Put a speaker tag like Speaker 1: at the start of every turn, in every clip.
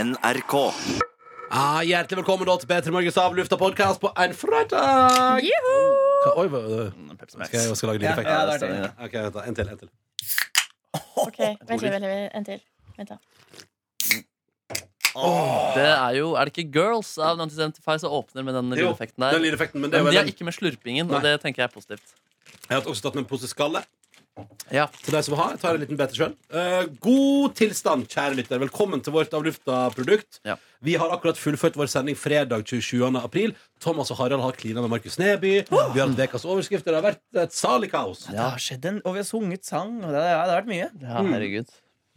Speaker 1: NRK.
Speaker 2: Ah, hjertelig velkommen da til P3 Morgens avlufta podkast på en fredag! Hva- Oi, hva,
Speaker 3: Mm,
Speaker 2: skal jeg også lage lydeffekt?
Speaker 3: Ja, ja, det er det.
Speaker 2: Ok, vent da, En til. en til
Speaker 4: Ok, vent litt, vent litt, en til. Vent da.
Speaker 3: Det er jo Er det ikke Girls av 1975 som åpner med den
Speaker 2: Jo,
Speaker 3: lydeffekten der?
Speaker 2: Den lydeffekten, men det er
Speaker 3: Men
Speaker 2: jo
Speaker 3: de er
Speaker 2: den.
Speaker 3: ikke med slurpingen,
Speaker 2: Nei.
Speaker 3: og det tenker jeg er positivt.
Speaker 2: Jeg har også tatt med en pose skalle
Speaker 3: Ja,
Speaker 2: til deg som har. Jeg tar en liten bete sjøl. god tilstand, kjære lytter. Velkommen til vårt avlufta-produkt.
Speaker 3: Ja.
Speaker 2: Vi har akkurat fullført vår sending fredag 27. april. Thomas og Harald har klina med Markus Neby. Vi har hatt ukas overskrifter. Det har vært et salig kaos.
Speaker 5: Det har skjedd en, og vi har sunget sang, og det, har- det har vært mye.
Speaker 3: ja herregud.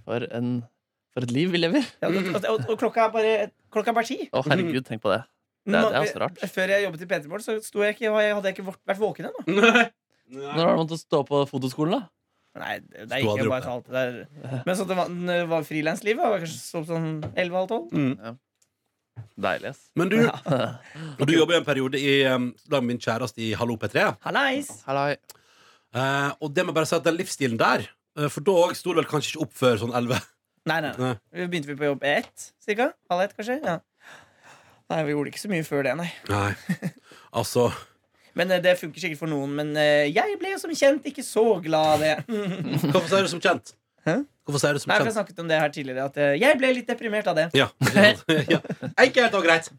Speaker 3: For, en, for et liv vi lever.
Speaker 5: Ja, og, og, og, og klokka er bare klokka er bare ti. eh,
Speaker 3: Å, herregud, tenk på det. Det er- det er også rart.
Speaker 5: Før jeg jobbet i P3 Morgen, så sto jeg ikke, hadde jeg ikke vært- vært våken ennå.
Speaker 2: Mhm.
Speaker 3: Når har du måttet stå på fotoskolen, da?
Speaker 5: Nei, det det
Speaker 2: Sto
Speaker 5: gikk
Speaker 2: aldri
Speaker 5: jo bare
Speaker 2: opp,
Speaker 5: til alt det der. Men sånn at det var, det var frilanslivet var kanskje sånn, sånn 11-12.
Speaker 3: Deilig, ass.
Speaker 2: Men du, og du jobber jo en periode i, um, med min kjæreste i Hallo P3.
Speaker 5: Hallais!
Speaker 3: Hallai.
Speaker 2: Eh, og det må jeg bare si at den livsstilen der eh, For da sto det vel kanskje ikke opp før sånn 11.
Speaker 5: Nei, nei, nei.
Speaker 2: Nei.
Speaker 5: Vi Begynte vi på jobb ett, cirka? Halv ett, kanskje? Ja. Nei, vi gjorde ikke så mye før det, nei.
Speaker 2: Nei. Altså
Speaker 5: Men eh, det funker sikkert for noen. Men eh, jeg ble jo som kjent ikke så glad av det.
Speaker 2: Hvorfor sier du som kjent?
Speaker 5: Hæ?
Speaker 2: Hvorfor sier du som
Speaker 5: Nei, for sånn- jeg
Speaker 2: kjent?
Speaker 5: snakket om det her tidligere, at eh, jeg ble litt deprimert av det.
Speaker 2: Ja. ja. Ikke helt og greit.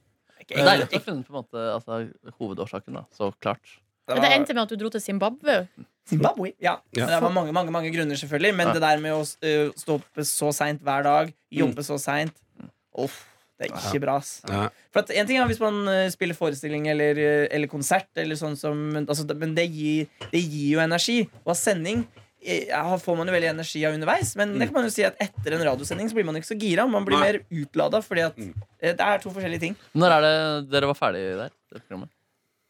Speaker 5: Ikke-
Speaker 3: Deilig at du har funnet på en måte altså, hovedårsaken, da. Så klart.
Speaker 5: Det
Speaker 4: Men
Speaker 5: var-
Speaker 4: det endte med at du dro til Zimbabwe.
Speaker 5: Zimbabwe. Ja.
Speaker 2: Ja.
Speaker 5: Men Det var mange mange, mange grunner, selvfølgelig. Men
Speaker 3: Ja.
Speaker 5: det der med å ø, stå opp så seint hver dag, jobbe
Speaker 3: Mm.
Speaker 5: så seint Uff, det er ikke bra. ass.
Speaker 2: Ja.
Speaker 5: For at en ting er hvis man ø, spiller forestilling eller, ø, eller konsert, eller sånn som, men, altså, det- men det gir, det gir jo energi. Og av sending eh, ja, får man jo veldig energi av underveis, men
Speaker 3: Mm.
Speaker 5: det kan man jo si at etter en radiosending så blir man ikke så gira. Man blir
Speaker 2: Nei.
Speaker 5: mer utlada, fordi at
Speaker 3: Mm.
Speaker 5: eh, det er to forskjellige ting.
Speaker 3: Når er det dere var ferdig der? Det programmet?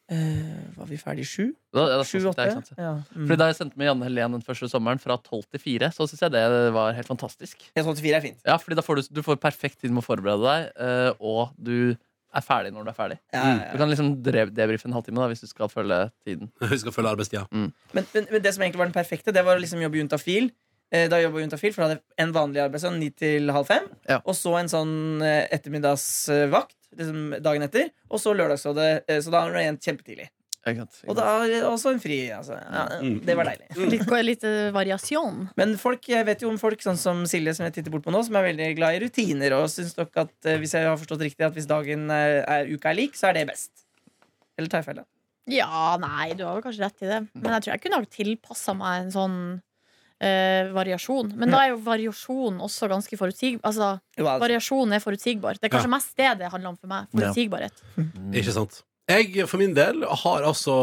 Speaker 5: Eh, var vi ferdig sju?
Speaker 3: Da- ja, det er sånn sett, det er
Speaker 5: Sju-åtte?
Speaker 3: ikke sant?
Speaker 5: Ja. Mm.
Speaker 3: Fordi Da jeg sendte med Janne Helen den første sommeren, fra 12 til 4, så syns jeg det var helt fantastisk.
Speaker 5: Jeg så til sånn fire er fint.
Speaker 3: Ja, fordi da får du, du får perfekt tid med å forberede deg, eh, og du er ferdig når du er ferdig.
Speaker 5: Ja, ja, ja.
Speaker 3: Du kan liksom drev- debrife en halvtime da, hvis du skal følge tiden.
Speaker 2: Vi skal følge arbeidstida.
Speaker 5: Men, men, men det som egentlig var den perfekte, Det var å liksom jobbe i Juntafil. Eh, Da jobba Juntafil, for da hadde jeg en vanlig arbeidsdag, ni til halv fem.
Speaker 3: Ja.
Speaker 5: Og så en sånn eh, ettermiddagsvakt liksom dagen etter. Og så lørdagsrådet. eh, Så da var det en kjempetidlig.
Speaker 3: Ikke sant? Mm.
Speaker 5: Og da er det også en fri. Altså. Ja, det var deilig.
Speaker 4: Litt, litt eh, variasjon.
Speaker 5: Men folk, jeg vet jo om folk sånn som Silje, som jeg titter bort på nå, som er veldig glad i rutiner. Og syns dere at, eh, hvis jeg har forstått riktig, at hvis dagen er, er uka er lik, så er det best? Eller tar jeg feil? da?
Speaker 4: Ja, nei, du har vel kanskje rett i det. Men jeg tror jeg kunne ha tilpassa meg en sånn eh, variasjon. Men da er jo variasjon også ganske forutsigbar. Altså,
Speaker 5: Jo, altså.
Speaker 4: variasjon er forutsigbar. Det er kanskje mest det det handler om for meg.
Speaker 3: Ja.
Speaker 4: Forutsigbarhet.
Speaker 2: Ikke sant? Jeg for min del har altså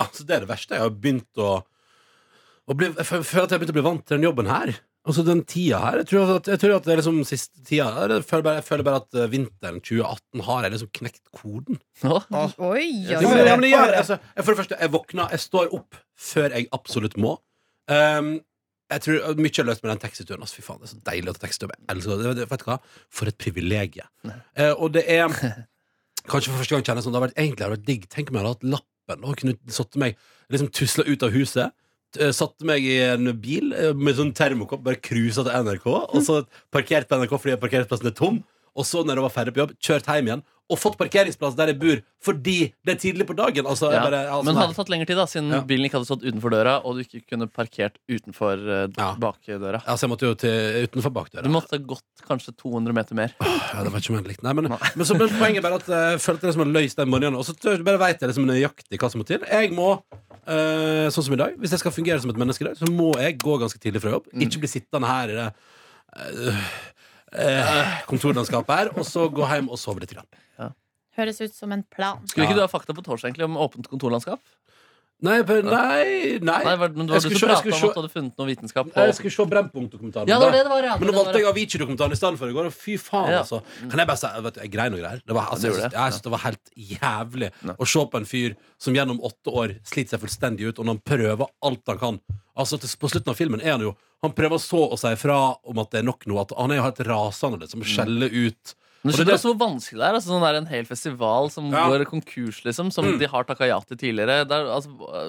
Speaker 2: Altså Det er det verste. Jeg har begynt å, å bli, Jeg føler at jeg har begynt å bli vant til den jobben her. Altså den tida her Jeg tror at, jeg tror at det er liksom siste tida her, jeg føler, bare, jeg føler bare at eh, vinteren 2018 har jeg liksom knekt koden.
Speaker 3: Nå?
Speaker 5: Åh.
Speaker 4: Oi,
Speaker 2: Ja, men,
Speaker 4: oi,
Speaker 5: det
Speaker 4: oi.
Speaker 5: var det.
Speaker 2: ja, men jeg gjør det. Altså, jeg, for det første, jeg våkner, jeg står opp før jeg absolutt må. Um, jeg tror uh, Mye er løst med den taxituren. Altså, fy faen, det er så deilig å ta taxituren. Jeg elsker det. Det- det. Vet du hva? For et privilegium. Eh, og det er Kanskje for første gang kjenner jeg sånn det har vært, Egentlig hadde det vært digg. Tenk om jeg hadde hatt lappen og kunne satt meg Liksom tusla ut av huset. t- eh, Satt meg i en bil eh, med sånn termokopp, bare cruisa til NRK. Og så parkert på NRK fordi parkeringsplassen er tom. Og så når jeg var ferdig på jobb, kjørt hjem igjen og fått parkeringsplass der jeg bor fordi det er tidlig på dagen. Altså, jeg
Speaker 3: Ja.
Speaker 2: bare, altså,
Speaker 3: Men det
Speaker 2: nei.
Speaker 3: hadde tatt lengre tid, da, siden
Speaker 2: Ja.
Speaker 3: bilen ikke hadde stått utenfor døra, og du ikke kunne parkert utenfor eh,
Speaker 2: Ja.
Speaker 3: bakdøra.
Speaker 2: altså, jeg måtte jo til utenfor bakdøra.
Speaker 3: Du måtte gått kanskje 200 meter mer.
Speaker 2: Ja, det var ikke meningen likt. Nei, men, men så ble poenget bare at eh, jeg følte det som en løs den morgenen. Og så tør- bare vet jeg liksom nøyaktig hva som må til. Jeg må, eh, sånn som i dag, hvis jeg skal fungere som et menneske i dag, så må jeg gå ganske tidlig fra jobb.
Speaker 3: Mm.
Speaker 2: Ikke bli sittende her i det eh, eh, kontorlandskapet her, og så gå hjem og sove litt. Grann.
Speaker 4: Høres ut som en plan.
Speaker 3: Skulle
Speaker 2: Ja.
Speaker 3: ikke du ha fakta på torsdag egentlig om åpent kontorlandskap?
Speaker 2: Nei, på- nei, nei.
Speaker 3: Nei, var- men
Speaker 2: Jeg
Speaker 3: det var du
Speaker 2: skulle se- jeg
Speaker 3: som pratet
Speaker 2: skulle
Speaker 3: om
Speaker 2: se-
Speaker 3: at du hadde funnet noe vitenskap på
Speaker 2: Nei, Jeg skulle se Brennpunkt-dokumentaren.
Speaker 3: Ja, det var det det var,
Speaker 2: Men
Speaker 3: ja.
Speaker 2: nå
Speaker 3: Det var
Speaker 2: valgte
Speaker 3: det.
Speaker 2: jeg Avicii-dokumentaren i stedet for i går. Og fy faen,
Speaker 3: Ja.
Speaker 2: altså. Kan jeg bare si vet du, Jeg grein og greier. Det var, altså,
Speaker 3: Ja,
Speaker 2: jeg
Speaker 3: du gjorde
Speaker 2: synes-
Speaker 3: det.
Speaker 2: jeg synes det var helt jævlig
Speaker 3: Ja.
Speaker 2: å se på en fyr som gjennom åtte år sliter seg fullstendig ut, og når han prøver alt han kan. Altså, til, På slutten av filmen er han
Speaker 3: Mm.
Speaker 2: jo Han prøver så å si fra om at det er nok nå. At han er jo helt rasende, liksom. Skjeller ut
Speaker 3: Men
Speaker 2: Og
Speaker 3: du
Speaker 2: det-
Speaker 3: skjønner også hvor vanskelig det er. Altså, sånn der en hel festival som
Speaker 2: Ja.
Speaker 3: går konkurs, liksom. Som
Speaker 2: Mm.
Speaker 3: de har takka ja til tidligere. Der, altså,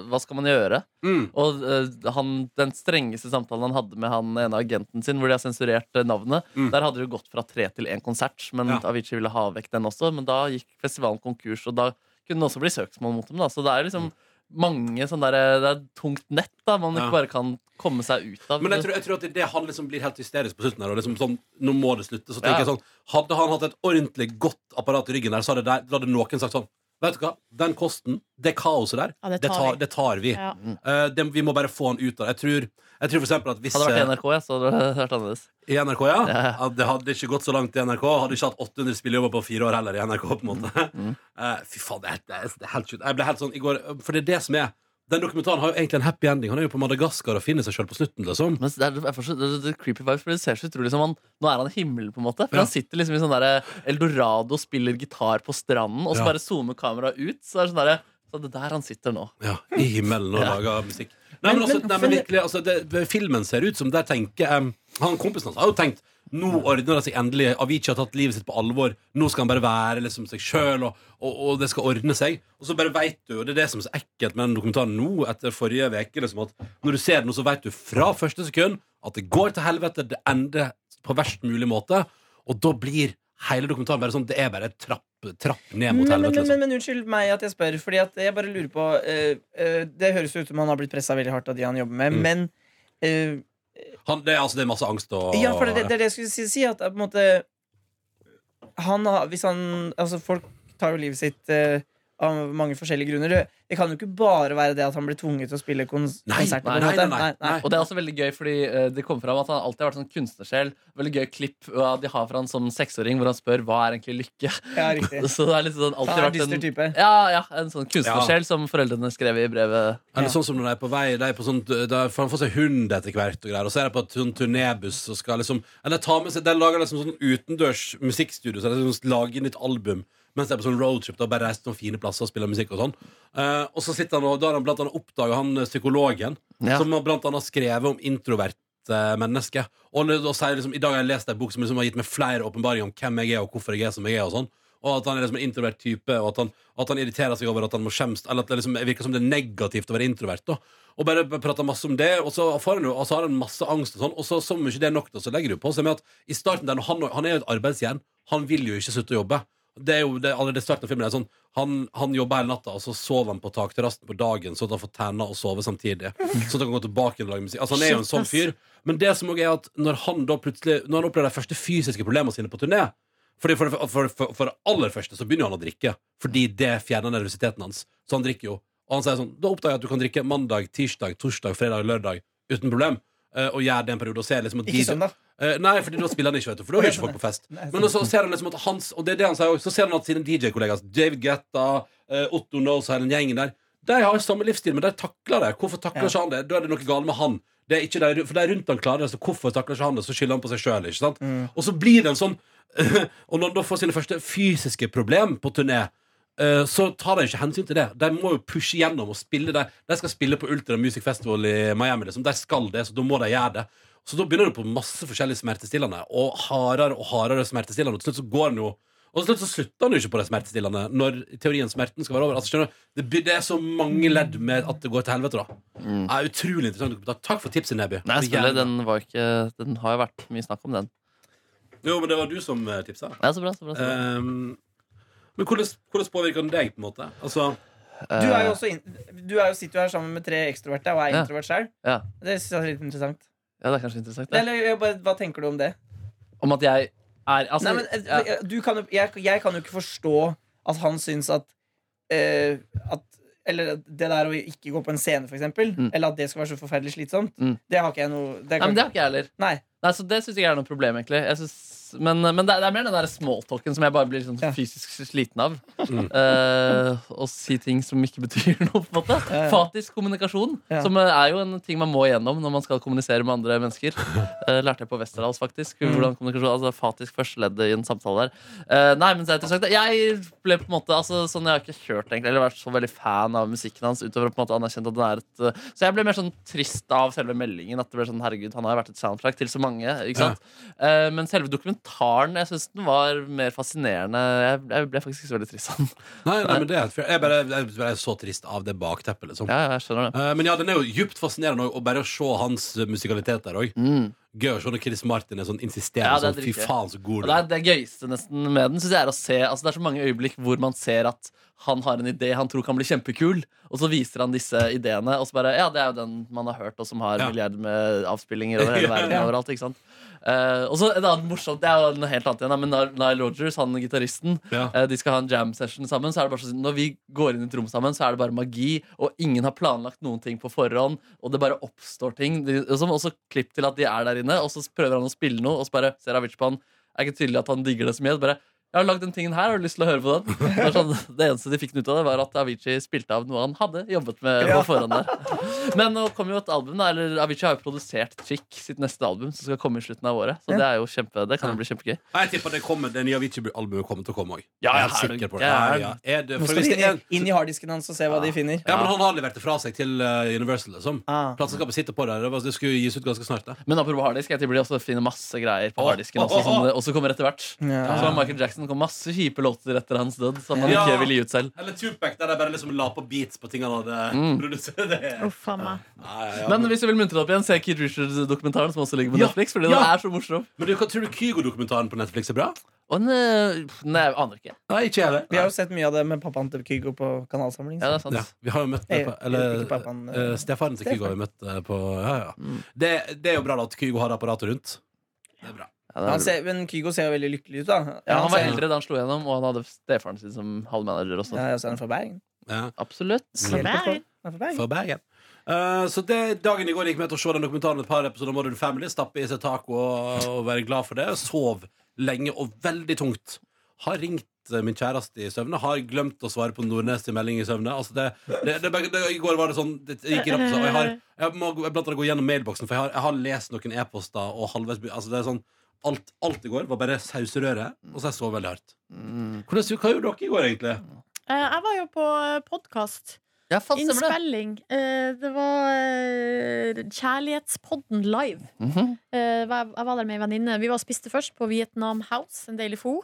Speaker 3: hva skal man gjøre?
Speaker 2: Mm.
Speaker 3: Og eh, han, den strengeste samtalen han hadde med han ene agenten sin, hvor de har sensurert eh, navnet,
Speaker 2: Mm.
Speaker 3: der hadde det gått fra tre til én konsert. Men
Speaker 2: Ja.
Speaker 3: Avicii ville ha vekk den også. Men da gikk festivalen konkurs, og da kunne det også bli søksmål mot dem. Da. Så det er liksom mange sånne der, eh, Det er et tungt nett da man
Speaker 2: Mm. Ja.
Speaker 3: ikke bare kan komme seg ut av.
Speaker 2: Men jeg tror, jeg tror at det er det han liksom blir helt hysterisk på slutten her. Og liksom sånn, nå må det slutte. Så tenker
Speaker 3: Ja.
Speaker 2: jeg sånn Hadde han hatt et ordentlig godt apparat i ryggen der, så hadde, der, da hadde noen sagt sånn Vet du hva, den kosten, det kaoset der,
Speaker 4: Ja, det
Speaker 2: det
Speaker 4: tar
Speaker 2: tar,
Speaker 4: vi.
Speaker 2: det tar vi.
Speaker 4: Ja.
Speaker 2: Eh, det, vi må bare få han ut av det. Jeg tror, jeg tror for eksempel at hvis
Speaker 3: Hadde det vært i
Speaker 2: eh,
Speaker 3: NRK, ja, så hadde det vært annerledes.
Speaker 2: I NRK, ja. At Det hadde ikke gått så langt i NRK. Hadde ikke hatt 800 spillejobber på fire år heller i NRK. på en måte
Speaker 3: Mm.
Speaker 2: Eh, Fy faen, det er, helt- det er, det er helt sjukt. Jeg ble helt sånn i går For det er det som er Den dokumentaren har jo egentlig en happy ending. Han er jo på Madagaskar og finner seg sjøl på slutten, liksom.
Speaker 3: Men det er, jeg forstår- det, det, creepy vibes, for det ser så utrolig som han Nå er han i himmelen, på en måte. For
Speaker 2: Ja.
Speaker 3: Han sitter liksom i sånn derre Eldorado, spiller gitar på stranden, og så
Speaker 2: Ja.
Speaker 3: bare zoomer kameraet ut. Så er det sånn derre Så det er der han sitter nå.
Speaker 2: Ja, I himmelen og lager musikk. Nei, men,
Speaker 5: Men-
Speaker 2: altså,
Speaker 5: men-
Speaker 2: nei, men virkelig, altså, det, filmen ser ut som der tenker em, Han Kompisen hans har jo tenkt nå ordner det seg endelig. Avicii har tatt livet sitt på alvor. Nå skal han bare være liksom, seg sjøl, og, og, og det skal ordne seg. Og så bare vet du, og det er det som er så ekkelt med den dokumentaren nå, etter forrige uke, liksom, at når du ser den, så vet du fra første sekund at det går til helvete, det ender på verst mulig måte, og da blir hele dokumentaren bare sånn Det er bare trapp, trapp ned mot
Speaker 5: Men,
Speaker 2: helvete,
Speaker 5: men, men, men,
Speaker 2: liksom.
Speaker 5: men unnskyld meg at jeg spør, Fordi at jeg bare lurer på eh, eh, Det høres jo ut som han har blitt pressa veldig hardt av de han jobber med,
Speaker 2: Mm.
Speaker 5: men eh,
Speaker 2: Han, det, er- altså, det er masse angst og
Speaker 5: Ja, for det, det, det er det jeg skulle si, si at det er på en måte han har, hvis han, altså Folk tar jo livet sitt eh, av mange forskjellige grunner. Det kan jo ikke bare være det at han ble tvunget til å spille kons
Speaker 2: Nei,
Speaker 5: konserter.
Speaker 3: nei,
Speaker 5: på en måte.
Speaker 2: nei, nei, nei.
Speaker 3: Og det er også veldig gøy, fordi eh, det kommer fram at han alltid har vært sånn kunstnersjel. Veldig gøy klipp eh, de har fra han som seksåring, hvor han spør hva er egentlig lykke.
Speaker 5: Ja, riktig.
Speaker 3: Så det er litt sånn alltid
Speaker 5: Han er en
Speaker 3: vært
Speaker 5: dyster
Speaker 3: en
Speaker 5: type.
Speaker 3: ja, ja, en sånn kunstnersjel som foreldrene skrev i brevet.
Speaker 2: Eller
Speaker 5: Ja.
Speaker 2: sånn som når de er på vei de er på sånn, de får får seg hund etter hvert, og greier Og så er de på et sånn turnébuss og skal liksom Eller ta med seg, de lager liksom sånn utendørs musikkstudio, så de liksom lager nytt album. Mens de er på sånn roadtrip og bare reiser til noen fine plasser og spiller musikk og sånn. Eh, og så sitter han og da har han blant annet oppdaga han eh, psykologen,
Speaker 3: Ja.
Speaker 2: som har blant annet skrevet om introverte mennesker. eh, Og, og sier liksom I dag har jeg lest ei bok som liksom har gitt meg flere åpenbaringer om hvem jeg er, og hvorfor jeg er som jeg er, og sånn. Og at han er liksom en introvert type, og at han, at han irriterer seg over at han må skjemmes. Eller at det liksom virker som det er negativt å være introvert. da Og bare prater masse om det, og så får han jo og så har han masse angst, og sånn Og så som ikke det er nok, da, så legger du på seg med at i starten der, når han, han er jo et arbeidsjern. Han vil jo ikke slutte å jobbe. Det er jo det, allerede i starten av filmen er det sånn han, han jobber hele natta, og så sover han på takterrassen på dagen, så at han får tæna og sove samtidig. Så at han kan gå tilbake og lage musikk. Altså Han er jo en sånn fyr. Men det som også er at når han da plutselig Når han opplever de første fysiske problemene sine på turné fordi for, for, for, for, for det aller første så begynner han å drikke, fordi det fjerner nervøsiteten hans. Så han drikker jo. Og han sier sånn Da oppdager jeg at du kan drikke mandag, tirsdag, torsdag, fredag, lørdag uten problem. eh, Og gjør det en periode og ser liksom at
Speaker 5: Ikke sånn, da.
Speaker 2: Eh, nei, fordi da spiller han ikke, vet du. For da er ikke folk på fest.
Speaker 5: Nei,
Speaker 2: Men så ser han liksom at hans Og det er det han sier også, Så ser han at sine DJ-kollegaer, David Guetta, eh, Otto Knows og hele den gjengen der, de har samme livsstil, men de takler det. Hvorfor takler
Speaker 5: Ja.
Speaker 2: ikke han det? Da er det noe galt med han. Det er ikke de, for de rundt han klarer det, så hvorfor takler ikke han det? Så skylder han på seg sjøl, ikke sant?
Speaker 5: Mm.
Speaker 2: Og så blir det en sånn Og når han da får sine første fysiske problem på turné, eh, så tar de ikke hensyn til det. De må jo pushe gjennom og spille det. De skal spille på Ultra Music Festival i Miami. Liksom. De skal det, så da må de gjøre det. Så da begynner du på masse forskjellige smertestillende, og hardere og hardere smertestillende. Og til slutt så går han jo og til slutt så slutter han jo ikke på det smertestillende når i teorien smerten skal være over. Altså, skjønner du, det, by- det er så mange ledd med at det går til helvete, da. Det er utrolig interessant dokumentar. Takk for tipset, Neby.
Speaker 3: Mm. Nei,
Speaker 2: Det er
Speaker 3: spillet,
Speaker 2: jævlig bra.
Speaker 3: den, var ikke, den har jo vært mye snakk om den.
Speaker 2: Jo, men det var du som eh, tipsa.
Speaker 3: Ja, så bra, så bra, så bra.
Speaker 2: Ehm, men hvordan, hvordan påvirker den deg, på en måte? Altså,
Speaker 3: Eh,
Speaker 5: Du, er jo også in du er jo, sitter jo her sammen med tre ekstroverte og er
Speaker 3: Ja.
Speaker 5: introvert sjøl.
Speaker 3: Ja.
Speaker 5: Det synes jeg er litt interessant.
Speaker 3: Ja, det er kanskje interessant. Det.
Speaker 5: Eller, jeg bare, hva tenker du om det?
Speaker 3: Om at jeg er altså,
Speaker 5: Nei, men,
Speaker 3: ja.
Speaker 5: eh, du kan, jo- jeg, jeg kan jo ikke forstå at han syns at, eh, at Eller at det der å ikke gå på en scene, for eksempel.
Speaker 3: Mm.
Speaker 5: Eller at det skal være så forferdelig slitsomt.
Speaker 3: Mm.
Speaker 5: Det har ikke jeg noe det
Speaker 3: Nei,
Speaker 5: kan,
Speaker 3: men Det har ikke jeg heller.
Speaker 5: Nei.
Speaker 3: Nei, så Det syns jeg ikke er noe problem, egentlig. Jeg synes, men men det, er- det er mer den der smalltalken som jeg bare blir sånn
Speaker 5: Ja.
Speaker 3: fysisk sliten av. Eh, å si ting som ikke betyr noe, på en måte.
Speaker 5: Ja, ja.
Speaker 3: Fatisk kommunikasjon,
Speaker 5: Ja.
Speaker 3: som eh, er jo en ting man må igjennom når man skal kommunisere med andre mennesker. Eh, lærte jeg på Westerdals, faktisk.
Speaker 5: Mm.
Speaker 3: Hvordan kommunikasjon, altså Fatisk førsteleddet i en samtale der. Eh, nei, men så er det interessant. Jeg ble på en måte altså, sånn, Jeg har ikke hørt egentlig, eller vært så veldig fan av musikken hans. Utover å på en måte anerkjent at den er et eh, Så jeg ble mer sånn trist av selve meldingen. At det ble sånn, herregud, han har jo vært et soundtrack til så mange. Ikke sant? Eh, men selve dokument, dokumentaren. Jeg syns den var mer fascinerende. Jeg, jeg ble faktisk ikke så veldig trist av den.
Speaker 2: Nei, nei, men det er helt fair. Jeg bare jeg ble så trist av det bakteppet, liksom.
Speaker 3: Ja, ja, jeg skjønner det.
Speaker 2: Eh, Men ja, den er jo djupt fascinerende Og bare å se hans musikalitet der òg.
Speaker 3: Mm.
Speaker 2: Gøy å se når Chris Martin er sånn
Speaker 3: Ja,
Speaker 2: insisterende
Speaker 3: det er
Speaker 2: sånn Fy
Speaker 3: dritgøy.
Speaker 2: faen, så god du
Speaker 3: Og det,
Speaker 2: er.
Speaker 3: er, det gøyeste nesten med den synes jeg er å se altså Det er så mange øyeblikk hvor man ser at han har en idé han tror kan bli kjempekul, og så viser han disse ideene, og så bare Ja, det er jo den man har hørt, og som har
Speaker 2: Ja.
Speaker 3: milliarder med avspillinger over hele
Speaker 2: Ja,
Speaker 3: verden.
Speaker 5: ja.
Speaker 3: overalt, ikke sant? Eh, og så et annet morsomt Det er jo noe helt annet igjen, da, men Nile- Nile Rogers, han gitaristen,
Speaker 2: Ja.
Speaker 3: Eh, De skal ha en jam session sammen. Så er det bare sånn, når vi går inn i et rom sammen, så er det bare magi, og ingen har planlagt noen ting på forhånd. Og det bare oppstår ting. De- og så- Og så klipp til at de er der inne, og så prøver han å spille noe, og så bare ser Avicii på han. Det er ikke tydelig at han digger det så mye. Bare, jeg har lagd den tingen her, har du lyst til å høre på den? Det, er sånn, det eneste de fikk den ut av det, var at Avicii spilte av noe han hadde jobbet med på forhånd der. Men nå kommer jo et album, da, eller Avicii har jo produsert Chick, sitt neste album, som skal komme i slutten av året. Så det er jo kjempe, det kan jo bli kjempegøy.
Speaker 2: Og Jeg tipper det kommer det nye Avicii-albumet kommer til å komme òg.
Speaker 3: Ja,
Speaker 2: jeg er
Speaker 3: ja,
Speaker 2: helt
Speaker 3: er du
Speaker 2: sikker på det. Ja,
Speaker 3: gæren?
Speaker 2: ja. Er det,
Speaker 5: Nå
Speaker 2: for
Speaker 5: skal
Speaker 2: hvis
Speaker 5: de
Speaker 2: det er,
Speaker 5: inn, inn i harddisken hans og se hva de finner.
Speaker 2: ja, men han har levert det fra seg til eh, Universal, liksom.
Speaker 5: Ah.
Speaker 2: Plateselskapet sitter på det. Det, var, det skulle gis ut ganske snart. Da.
Speaker 3: Men apropos harddisk, jeg tipper de også finner masse greier på
Speaker 2: Åh,
Speaker 3: harddisken.
Speaker 2: åh,
Speaker 3: Også,
Speaker 2: åh,
Speaker 3: som
Speaker 2: åh.
Speaker 3: det også kommer etter hvert.
Speaker 5: Ja.
Speaker 3: Så Michael Jackson kom masse kjipe låter etter hans død som han
Speaker 2: Ja.
Speaker 3: ikke vil gi ut selv.
Speaker 2: Eller Tupac, der de bare liksom la på beats på ting han hadde produsert. Det er-
Speaker 4: Uff a meg.
Speaker 2: Ja, ja, ja.
Speaker 3: Men hvis du vil muntre deg opp igjen, se Keith Richards-dokumentaren som også ligger på
Speaker 2: Ja,
Speaker 3: Netflix. Fordi den
Speaker 2: ja.
Speaker 3: er så morsom
Speaker 2: Men du, hva tror du Kygo-dokumentaren på Netflix er bra?
Speaker 3: Og den, eh, Nei, jeg aner ikke.
Speaker 2: Nei, ikke jeg
Speaker 5: Vi har jo sett mye av det med pappaen til Kygo på kanalsamling.
Speaker 3: Ja, det er sant
Speaker 2: Ja, vi har jo møtt
Speaker 5: Jeg-
Speaker 2: pappa- eller,
Speaker 5: ikke pappaen,
Speaker 2: eh,
Speaker 5: eh,
Speaker 2: Stefaren til Kygo har vi møtt eh, på ja, ja. Det, det er jo bra da at Kygo har apparatet rundt. Det er bra.
Speaker 3: Ja, det er
Speaker 5: Han
Speaker 3: veldig bra.
Speaker 5: ser, men Kygo ser jo veldig lykkelig ut, da.
Speaker 3: ja, han var
Speaker 5: ser-
Speaker 3: eldre da han slo gjennom, og han hadde stefaren sin som halv manager også.
Speaker 5: Ja, ja, så er han fra Bergen.
Speaker 2: Ja.
Speaker 3: Absolutt.
Speaker 4: Fra Bergen.
Speaker 5: Han er fra Bergen.
Speaker 2: Fra Bergen. Eh, så det, dagen i går gikk med til å se den dokumentaren et par episoder om Modern Family. Stappe i seg taco og, og være glad for det. Sov lenge og veldig tungt. Har ringt eh, min kjæreste i søvne. Har glemt å svare på Nordnes til melding i søvne. Altså det, det, det, det, I går var det sånn Det gikk i rapp. Og jeg har jeg må gå- jeg blant annet gå gjennom mailboksen, for jeg har, jeg har lest noen e-poster og halvveis be- altså det er sånn, alt, alt i går var bare sauserøre, og så har jeg sovet veldig hardt.
Speaker 3: Mm.
Speaker 2: Hvordan, hva gjorde dere i går, egentlig?
Speaker 4: Eh, Jeg var jo på podkast.
Speaker 3: Ja, faen, stemmer det.
Speaker 4: Innspilling. Eh, Det var eh, Kjærlighetspodden live.
Speaker 3: Mhm.
Speaker 4: Eh, Jeg var jeg var der med ei venninne. Vi var og spiste først på Vietnam House, en deilig fo.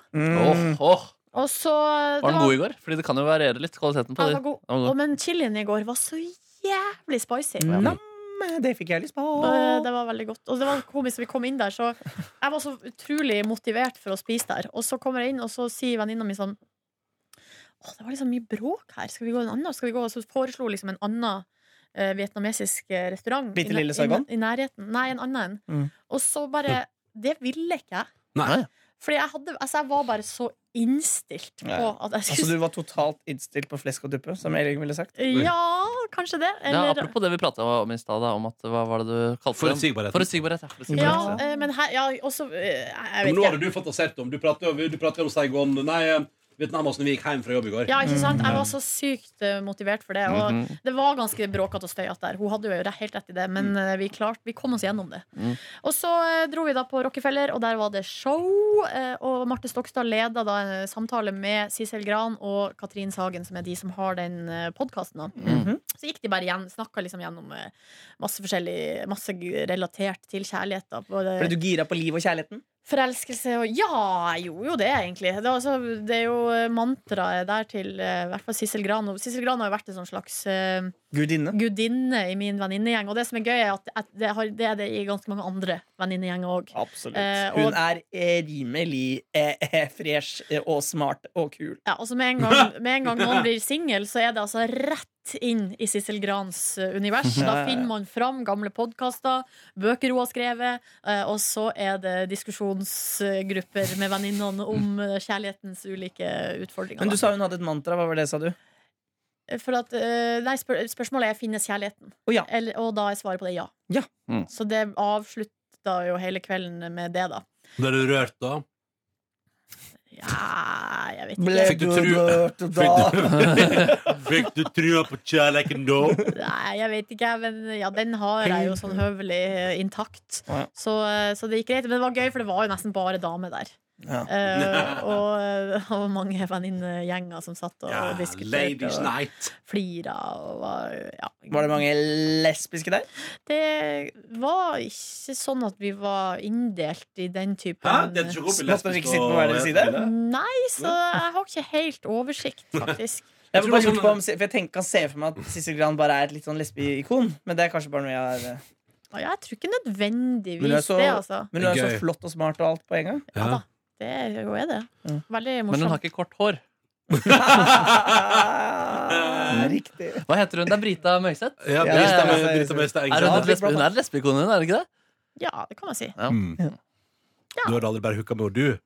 Speaker 3: Åh,
Speaker 5: Mm.
Speaker 3: åh.
Speaker 4: Og så eh, det
Speaker 3: Var den god i går? Fordi det kan jo variere litt. Kvaliteten på
Speaker 4: Ja, den
Speaker 3: de.
Speaker 4: var god.
Speaker 3: Den var god.
Speaker 4: Å, men chilien i går var så jævlig spicy.
Speaker 5: Nam, det fikk jeg lyst på.
Speaker 4: Eh, Det var veldig godt. Og det var komisk, vi kom inn der, så jeg var så utrolig motivert for å spise der. Og så kommer jeg inn, og så sier venninna mi sånn Å, det var liksom mye bråk her. Skal vi gå en annen? Skal vi gå? Og så foreslo liksom en annen eh, vietnamesisk eh, restaurant.
Speaker 5: Bitte
Speaker 4: i nær-
Speaker 5: lille Saigon?
Speaker 4: I, i nærheten. Nei, en annen en.
Speaker 5: Mm.
Speaker 4: Og så bare Det ville ikke jeg.
Speaker 2: Nei.
Speaker 4: Fordi jeg, hadde, altså jeg var bare så innstilt på
Speaker 5: Ja.
Speaker 4: at jeg
Speaker 5: Altså,
Speaker 4: skulle
Speaker 5: du var totalt innstilt på flesk og duppe, som Elling ville sagt.
Speaker 4: Ja, kanskje det.
Speaker 3: Ja,
Speaker 4: Eller
Speaker 3: apropos det vi prata om i stad, da, om at hva var det du kalte det?
Speaker 2: Forutsigbarheten.
Speaker 3: Forutsigbarhet. ja, forutsigbarhet.
Speaker 4: Ja, eh, men her Ja, også eh,
Speaker 2: Men
Speaker 4: Jeg vet
Speaker 2: nå hadde
Speaker 4: ikke.
Speaker 2: du fantasert om Du pratet jo du pratet jo om Saigon Nei, eh, Vietnam også når vi gikk hjem fra jobb i går
Speaker 4: Ja, ikke sant? Jeg var så sykt eh, motivert for det. Og
Speaker 3: Mm, Mhm.
Speaker 4: det var ganske bråkete og støyete der. Hun hadde jo re- helt rett i det, men eh, vi, klarte- vi kom oss gjennom det.
Speaker 3: Mm.
Speaker 4: Og så eh, dro vi da på Rockefeller, og der var det show. eh, Og Marte Stokstad leda da en samtale med Sissel Gran og Katrin Sagen, som er de som har den podkasten.
Speaker 3: Mhm.
Speaker 4: Så gikk de bare igjen, snakka liksom gjennom eh, masse forskjellig, masse g- relatert til kjærlighet. Da, både
Speaker 5: Ble du gira på livet og kjærligheten?
Speaker 4: Forelskelse og Ja, jeg gjorde jo det, egentlig. Det er, altså, det er jo mantraet der til eh, i hvert fall Sissel Gran. Og Sissel Gran har jo vært en sånn slags eh,
Speaker 5: Gudinne.
Speaker 4: gudinne i min venninnegjeng. Og det som er gøy, er at, at det, har, det er det i ganske mange andre venninnegjenger òg.
Speaker 5: Absolutt.
Speaker 4: Eh,
Speaker 5: Hun
Speaker 4: og-
Speaker 5: er eh, rimelig eh, eh, fresh eh, og smart og kul.
Speaker 4: Ja, altså med, en gang- med en gang noen blir singel, så er det altså rett inn i Sissel Grans eh, univers. Da finner man fram gamle podkaster, bøker hun har skrevet, eh, og så er det diskusjonsgrupper med venninnene om eh, kjærlighetens ulike utfordringer.
Speaker 5: Men
Speaker 4: da.
Speaker 5: du sa hun hadde et mantra. Hva var det, sa du?
Speaker 4: For at, eh, nei, spør spørsmålet er finnes kjærligheten.
Speaker 5: Å, ja.
Speaker 4: Eller, og da er svaret på det ja.
Speaker 5: Ja.
Speaker 3: Mm.
Speaker 4: Så det avslutta jo hele kvelden med det, da.
Speaker 2: Ble du rørt da?
Speaker 4: Ja, jeg vet
Speaker 5: Ble
Speaker 2: Fikk
Speaker 4: ikke.
Speaker 2: du
Speaker 5: du
Speaker 2: tru-
Speaker 5: rørt
Speaker 2: Fikk
Speaker 5: da?
Speaker 2: du, fikk du trua på kjærleken da?
Speaker 4: Nei, jeg vet ikke, men ja, den har jeg jo sånn høvelig eh, intakt.
Speaker 5: Ja.
Speaker 4: Så, eh, så det gikk greit. Men det var gøy, for det var jo nesten bare damer der.
Speaker 5: Ja.
Speaker 4: Eh, og det var mange venninnegjenger som satt og, og diskuterte
Speaker 2: ladies
Speaker 4: og
Speaker 2: night.
Speaker 4: flira. Og var, ja.
Speaker 5: Var det mange lesbiske der?
Speaker 4: Det var ikke sånn at vi var inndelt i den typen
Speaker 2: Hæ? Det er ikke opp i lesbisk
Speaker 5: Måtte dere ikke sitte på
Speaker 2: og-
Speaker 5: hver deres side?
Speaker 4: Nei, så jeg har ikke helt oversikt, faktisk.
Speaker 5: Jeg,
Speaker 2: tror
Speaker 5: bare
Speaker 2: det var
Speaker 5: lurte på om, for jeg tenker, kan se for meg at Sissel Gran bare er et litt sånn lesbeikon. Men det er kanskje bare noe jeg har eh,
Speaker 4: Og Jeg tror ikke nødvendigvis
Speaker 5: Men
Speaker 4: det,
Speaker 5: det er så-
Speaker 4: altså.
Speaker 5: Men hun er
Speaker 2: Gøy.
Speaker 5: så flott og smart og alt på en gang.
Speaker 4: Ja da, det er jo er det.
Speaker 5: Mm.
Speaker 4: Veldig
Speaker 3: Men hun har
Speaker 4: morsomt.
Speaker 3: ikke kort hår.
Speaker 5: Riktig.
Speaker 3: Hva heter hun? Det er Brita Møyseth?
Speaker 2: Ja,
Speaker 5: Ja,
Speaker 2: Brita
Speaker 5: ja,
Speaker 2: med-
Speaker 5: ja.
Speaker 2: Brita med Stein, ikke
Speaker 3: Er hun,
Speaker 5: Ja,
Speaker 2: sant?
Speaker 3: et lesbe, hun er lesbikone, hun, er det ikke det?
Speaker 4: Ja, det kan man si.
Speaker 2: Mm. Du hadde aldri bare hooka med henne, du.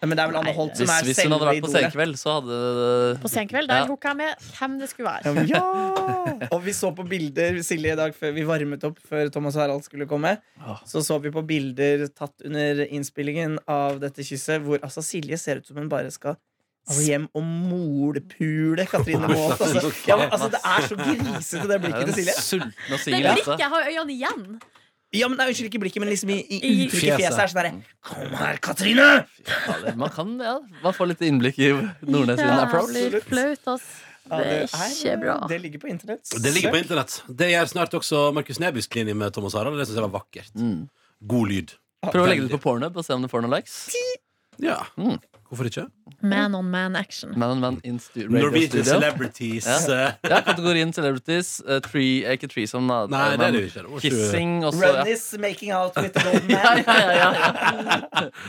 Speaker 5: Nei, men det er vel Anne
Speaker 4: Nei,
Speaker 5: Holt som
Speaker 3: Hvis,
Speaker 5: er
Speaker 3: hvis hun hadde
Speaker 5: selve
Speaker 3: vært på
Speaker 5: idolet.
Speaker 3: Senkveld, så hadde
Speaker 4: På senkveld der
Speaker 3: Ja.
Speaker 4: tok jeg med hvem det skulle være.
Speaker 5: Ja! Og vi så på bilder Silje i dag før vi varmet opp før Thomas og Harald skulle komme.
Speaker 3: Åh.
Speaker 5: Så så vi på bilder tatt under innspillingen av dette kysset, hvor altså Silje ser ut som hun bare skal altså, hjem og molpule Katrine Maalt. Altså. Ja, men, altså, det er så grisete, det
Speaker 3: Det er
Speaker 5: blikket
Speaker 3: en
Speaker 5: til Silje.
Speaker 3: sulten og
Speaker 4: Det
Speaker 3: singel
Speaker 4: blikket,
Speaker 3: jente.
Speaker 4: jeg har øynene igjen.
Speaker 5: Ja, men nei, Unnskyld, ikke blikket, men liksom i, i
Speaker 4: I-
Speaker 5: uttrykket i
Speaker 2: Fjeset.
Speaker 5: fjeset er sånn derre Kom her, Katrine!
Speaker 3: Ja, det- Man kan, ja, man får litt innblikk i Nordnes sin
Speaker 4: Ja,
Speaker 3: approach.
Speaker 4: det blir flaut, ass.
Speaker 5: Ja,
Speaker 4: Det er ikke bra.
Speaker 5: Det ligger på internett.
Speaker 2: Det ligger på internett. Det gjør snart også Markus Nebys linje med Thomas Harald. Det syns jeg var vakkert.
Speaker 3: Mm.
Speaker 2: God lyd.
Speaker 3: Prøv å legge det ut på pornhub og se om du får noen likes.
Speaker 2: Ja.
Speaker 3: Mm.
Speaker 2: Hvorfor ikke?
Speaker 4: Man on man action.
Speaker 3: Man and Man in stu radio
Speaker 2: Norwegian
Speaker 3: studio.
Speaker 2: celebrities. eh,
Speaker 3: Ja, kategorien celebrities. eh, tree, eh, ikke threesome, da.
Speaker 2: Nei, det er det
Speaker 3: Men
Speaker 2: jo ikke. Det var
Speaker 3: Kissing også, ja.
Speaker 5: Runnies making out with the golden
Speaker 3: Ja,
Speaker 5: man.
Speaker 3: ja, ja, ja.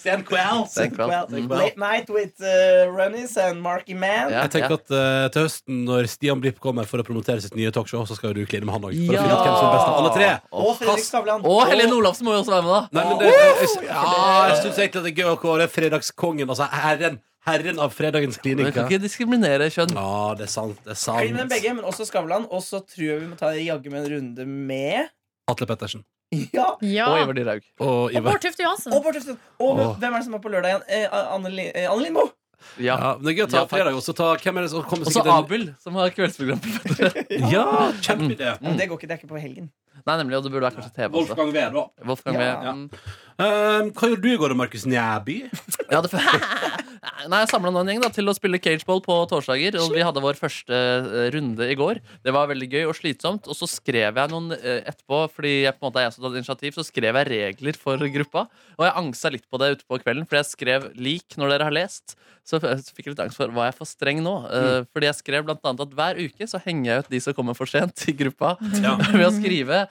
Speaker 2: Sen kveld.
Speaker 3: Sen kveld.
Speaker 5: Well,
Speaker 3: Mm.
Speaker 5: late night with uh, Runnies and Marky Man.
Speaker 3: Ja.
Speaker 2: Jeg tenker at eh, til høsten, når Stian Blipp kommer for å promotere sitt nye talkshow, så skal jo du kline med han òg. For å
Speaker 3: Ja.
Speaker 2: finne ut hvem som er best av alle tre.
Speaker 5: Og Fredrik Skavlan.
Speaker 3: Og Helene Olafsen må jo også være med, da.
Speaker 2: Nei, men det, jeg, ja, jeg syns egentlig at det er gøy å kåre fredagskongen, altså herren, herren av fredagens
Speaker 3: Vi
Speaker 2: klinikker.
Speaker 3: kan ikke diskriminere kjønn.
Speaker 2: Ja, det er sant. Det er
Speaker 5: Klin med
Speaker 2: sant.
Speaker 5: begge, men også Skavlan. Og så tror jeg vi må ta jaggu med en runde med
Speaker 2: Atle Pettersen
Speaker 5: Ja!
Speaker 4: Ja.
Speaker 3: Og
Speaker 4: Og
Speaker 3: Ivar Dyrhaug.
Speaker 2: og Ivar.
Speaker 4: Bård Tufte Johansen.
Speaker 5: Og Bård Tufte. Og
Speaker 2: Åh.
Speaker 5: hvem er det som er på lørdag igjen? Eh, Anne, Li- eh, Anne Lindmo!
Speaker 3: Mm. Ja.
Speaker 2: Ja, men det er gøy å ta
Speaker 3: Ja, takk.
Speaker 2: fredag også. Ta, hvem er det som kommer
Speaker 3: Og så
Speaker 2: en-
Speaker 3: Abel, som har kveldsprogram. på P3.
Speaker 2: Ja, kjempeidé.
Speaker 3: Mm.
Speaker 5: Men Det går ikke, det er ikke på helgen.
Speaker 3: Nei, nemlig, og det burde vært kanskje TV også.
Speaker 2: Wolfgang Wehr, da.
Speaker 3: Wolfgang
Speaker 5: Ja.
Speaker 3: Wee, mm.
Speaker 2: Ehm, hva gjorde du i går, Markus Næby?
Speaker 3: Ja, det Nei, Jeg samla nå en gjeng da, til å spille cageball på torsdager. Og vi hadde vår første eh, runde i går. Det var veldig gøy og slitsomt. Og så skrev jeg noen eh, etterpå, fordi jeg på en måte er jeg som tatt initiativ, så skrev jeg regler for gruppa. Og jeg angsta litt på det ute på kvelden, for jeg skrev 'lik' når dere har lest. Så f- jeg fikk litt angst for var jeg for streng nå. Eh, Fordi jeg skrev blant annet at hver uke så henger jeg ut de som kommer for sent i gruppa.
Speaker 2: Ja.
Speaker 3: ved å skrive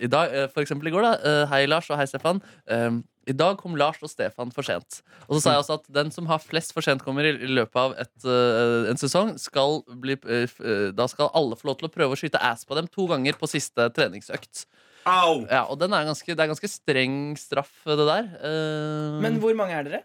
Speaker 3: i dag, eh, For eksempel i går, da. eh, Hei, Lars, og hei, Stefan. Eh, I dag kom Lars og Stefan for sent. Og så sa jeg også at den som har flest for sent kommer i i løpet av et, eh, en sesong, skal bli, eh, f- eh, da skal alle få lov til å prøve å skyte ass på dem to ganger på siste treningsøkt.
Speaker 2: Au!
Speaker 3: Ja, Og den er ganske, det er ganske streng straff, det der. Eh,
Speaker 5: Men hvor mange er dere?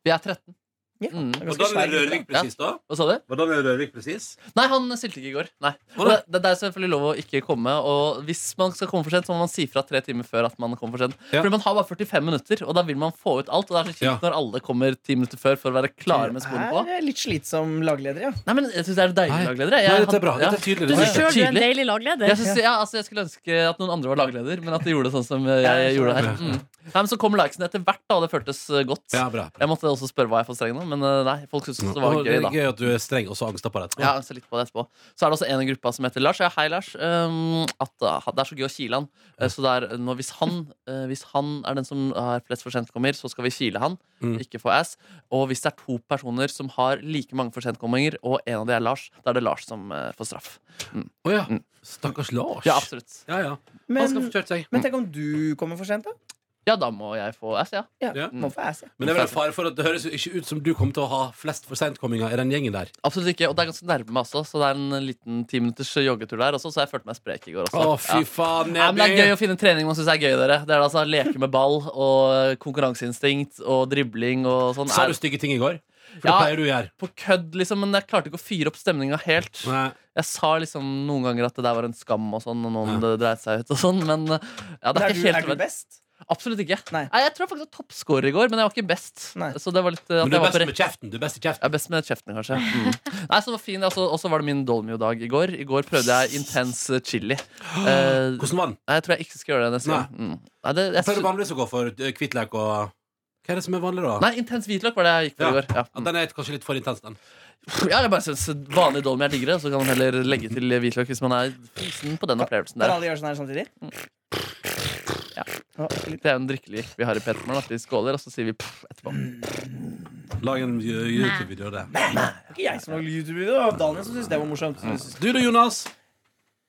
Speaker 3: vi er 13.
Speaker 5: Ja.
Speaker 3: Mm.
Speaker 5: Det er
Speaker 2: Var
Speaker 5: ganske
Speaker 2: Daniel
Speaker 5: svær gruppe.
Speaker 2: Rørvik presis, da?
Speaker 3: Hva sa du?
Speaker 2: Var Daniel Rørvik presis?
Speaker 3: Nei, han stilte ikke i går. Nei.
Speaker 2: Å,
Speaker 3: Og
Speaker 2: nei.
Speaker 3: det, det er selvfølgelig lov å ikke komme. Og hvis man skal komme for sent, så må man si fra tre timer før at man kommer for sent.
Speaker 2: Ja.
Speaker 3: Fordi man har bare 45 minutter, og da vil man få ut alt. Og det er så kjipt
Speaker 2: Ja.
Speaker 3: når alle kommer ti minutter før for å være klare med skolen på.
Speaker 5: Er eh, litt slitsom lagleder, ja.
Speaker 3: Nei, men jeg synes det er deilig,
Speaker 2: Nei.
Speaker 3: lagledere.
Speaker 2: Nei,
Speaker 3: Jeg-
Speaker 2: dette er bra.
Speaker 3: ja.
Speaker 2: Dette er tydelig.
Speaker 4: Du
Speaker 2: Dette er
Speaker 3: Ja.
Speaker 4: sjøl, du er en
Speaker 3: Tydelig.
Speaker 4: deilig lagleder.
Speaker 3: Jeg, synes, ja, altså, jeg skulle ønske at noen andre var lagleder, men at de gjorde det sånn som jeg,
Speaker 5: Ja, jeg
Speaker 3: gjorde
Speaker 5: skjønner.
Speaker 3: her. Mm. Nei, men Så kom likesen etter hvert, da, og det føltes eh, godt.
Speaker 2: Ja, bra.
Speaker 3: Jeg måtte også spørre hva jeg for streng nå, men eh, nei, folk syntes det var
Speaker 2: Mm. Og
Speaker 3: gøy, da.
Speaker 2: det er gøy at du er streng og så angsta på det.
Speaker 3: Jeg har angsta litt på det etterpå. Så er det også en i gruppa som heter Lars. Ja, hei, Lars. Um, at uh, Det er så gøy å kile han. Uh, så det er uh, nå, hvis, han, uh, hvis han er den som har flest for sent kommer, så skal vi kile han.
Speaker 2: Mm.
Speaker 3: Ikke få ass. Og hvis det er to personer som har like mange for sentkomminger, og en av de er Lars, da er det Lars som uh, får straff.
Speaker 2: Å ja. Stakkars Lars.
Speaker 3: Mm. Ja, absolutt.
Speaker 2: ja, ja. Han skal
Speaker 5: Men,
Speaker 2: få kjørt seg.
Speaker 5: men tenk om du kommer for sent, da?
Speaker 3: Ja, da må jeg få ass, ja.
Speaker 5: Ja,
Speaker 2: Ja.
Speaker 5: Må få ass, ja.
Speaker 2: Men det er vel en fare for at det høres jo ikke ut som du kommer til å ha flest for sentkomminger i den gjengen der.
Speaker 3: Absolutt ikke. Og det er ganske nærme meg også, så det er en liten timinutters joggetur der også, så jeg følte meg sprek i går også.
Speaker 2: Å, fy
Speaker 3: Ja.
Speaker 2: faen,
Speaker 3: Ja, men det er gøy
Speaker 2: Nebby!
Speaker 3: å finne trening man syns er gøy. dere Det er altså Leke med ball og konkurranseinstinkt og dribling og sånn.
Speaker 2: Sa
Speaker 3: Er
Speaker 2: du stygge ting i går? For det
Speaker 3: Ja.
Speaker 2: pleier du å gjøre.
Speaker 3: på kødd, liksom, men jeg klarte ikke å fyre opp stemninga helt.
Speaker 2: Nei.
Speaker 3: Jeg sa liksom noen ganger at det der var en skam, og sånn Og noen det dreit seg ut og sånn, men eh, ja, det er,
Speaker 5: Er du,
Speaker 3: ikke
Speaker 5: er
Speaker 3: helt
Speaker 5: du
Speaker 3: nødvendig.
Speaker 5: best?
Speaker 3: Absolutt ikke.
Speaker 5: Nei.
Speaker 3: jeg tror faktisk jeg var toppscorer i går, men jeg var ikke best.
Speaker 5: Nei.
Speaker 3: Så det var litt eh, at
Speaker 2: Men du
Speaker 3: jeg
Speaker 2: er
Speaker 3: var på
Speaker 2: best
Speaker 3: rett
Speaker 2: med kjeften. Du er best i kjeften.
Speaker 3: jeg er best med kjeften, kanskje. Mm. Nei, så det var fin, altså, Og så var det min Dolmio-dag i går. I går prøvde jeg intens eh, chili. Eh,
Speaker 2: Hvordan var den?
Speaker 3: Nei, jeg tror jeg ikke skal gjøre det neste
Speaker 2: Nei.
Speaker 3: gang. Mm. Nei, det,
Speaker 2: Jeg
Speaker 3: jeg,
Speaker 2: pleier vanligvis å gå for eh, hvitløk og Hva er det som er vanlig, da?
Speaker 3: Nei, intens hvitløk var det jeg gikk for
Speaker 2: Ja.
Speaker 3: i går. Ja. Mm.
Speaker 2: Ja, den er kanskje litt for intens, den.
Speaker 3: Ja, jeg bare synes vanlig dolmy er diggere, så kan man heller legge til hvitløk hvis man er frisen på den opplevelsen
Speaker 5: Når
Speaker 3: der.
Speaker 5: alle gjør sånn her samtidig?
Speaker 3: Ja.
Speaker 5: Å,
Speaker 3: Det er jo en drikkelig vi har i Petermorgen, at vi skåler, og så sier vi pff etterpå.
Speaker 2: Lag en y- YouTube-video av det.
Speaker 5: Det er ikke jeg som lager YouTube-video. Det var Daniel som syntes det var morsomt.
Speaker 3: Mm.
Speaker 5: Så synes-
Speaker 2: Du da, Jonas?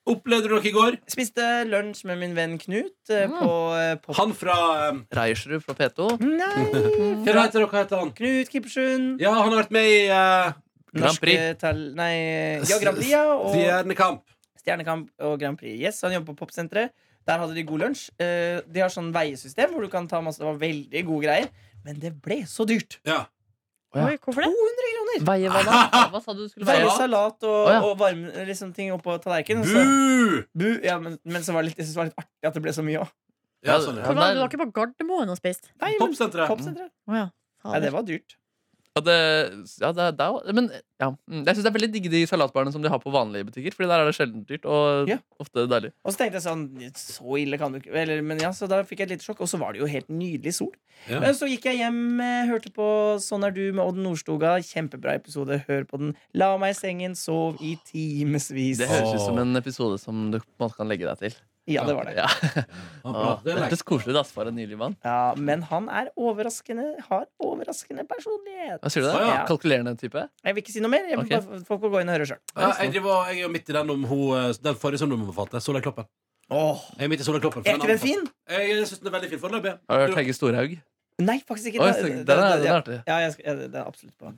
Speaker 2: Opplevde du noe i går?
Speaker 5: Spiste lunsj med min venn Knut
Speaker 3: Ah.
Speaker 5: eh, på eh, pop...
Speaker 2: Han fra eh,
Speaker 3: Reiersrud fra P2.
Speaker 5: Nei!
Speaker 2: Hva heter, hva heter han?
Speaker 5: Knut Kippersund.
Speaker 2: Ja, han har vært med i eh,
Speaker 3: Grand Prix.
Speaker 5: Norske Tall... Nei, ja, Grand Prix, ja. Og
Speaker 2: Stjernekamp.
Speaker 5: Stjernekamp og Grand Prix. Yes, han jobber på popsenteret. Der hadde de god lunsj. Eh, De har sånn veiesystem hvor du kan ta masse Det var veldig gode greier. Men det ble så dyrt.
Speaker 2: Ja.
Speaker 3: Ja.
Speaker 4: Oi, hvorfor det?
Speaker 3: Veie hva da? Hva sa du du skulle
Speaker 5: Varme
Speaker 3: veie?
Speaker 5: salat og,
Speaker 3: Å, ja.
Speaker 5: og varme liksom, ting oppå tallerkenen. så-
Speaker 2: Bu!
Speaker 5: Bu! Ja, men, men så var det litt, jeg synes det var litt artig at det ble så mye òg.
Speaker 2: Ja, sånn, ja.
Speaker 4: Hvor var det du var ikke på Gardermoen og spiste?
Speaker 2: Popsenteret.
Speaker 5: Popsenteret.
Speaker 4: Å ja.
Speaker 5: Nei, det var dyrt.
Speaker 3: Ja, det, ja, det, det er jo Men ja. mm, jeg syns det er veldig digge de salatbarene som de har på vanlige butikker, Fordi der er det sjelden dyrt og
Speaker 5: Ja.
Speaker 3: ofte deilig.
Speaker 5: Og så tenkte jeg sånn Så ille kan du ikke Eller, Men ja, så da fikk jeg et lite sjokk. Og så var det jo helt nydelig sol.
Speaker 2: Ja.
Speaker 5: Men Så gikk jeg hjem, eh, hørte på Sånn er du med Odd Nordstoga. Kjempebra episode. Hør på den. La meg i sengen, sov i timevis.
Speaker 3: Det høres ut som en episode som du på en måte kan legge deg til.
Speaker 5: Ja, det var det.
Speaker 3: Ja.
Speaker 2: Ja, bra.
Speaker 3: Det
Speaker 2: Det er
Speaker 3: hørtes koselig ut ass, for en nylig mann.
Speaker 5: Ja, men han er overraskende har overraskende personlighet.
Speaker 3: Hva sier du det?
Speaker 2: Å, ja.
Speaker 3: Kalkulerende type?
Speaker 5: Jeg vil ikke si noe mer. Jeg vil
Speaker 3: Ok.
Speaker 5: bare, folk får gå inn og høre sjøl.
Speaker 2: Ja, jeg, driver, og- jeg er midt i den om hun, eh, den forrige som du må fatte. Sola Kloppen. Jeg er midt i Sola Kloppen. for
Speaker 5: Er ikke den
Speaker 2: anbefalte-
Speaker 5: fin?
Speaker 2: Jeg syns den er veldig fin foreløpig.
Speaker 3: Har du hørt Hege Storhaug?
Speaker 5: Nei, faktisk ikke.
Speaker 3: Oi,
Speaker 5: Det-
Speaker 3: så-
Speaker 5: det-
Speaker 3: den er,
Speaker 5: det-
Speaker 3: den er artig.
Speaker 5: Ja, jeg skal, ja, det det er absolutt på.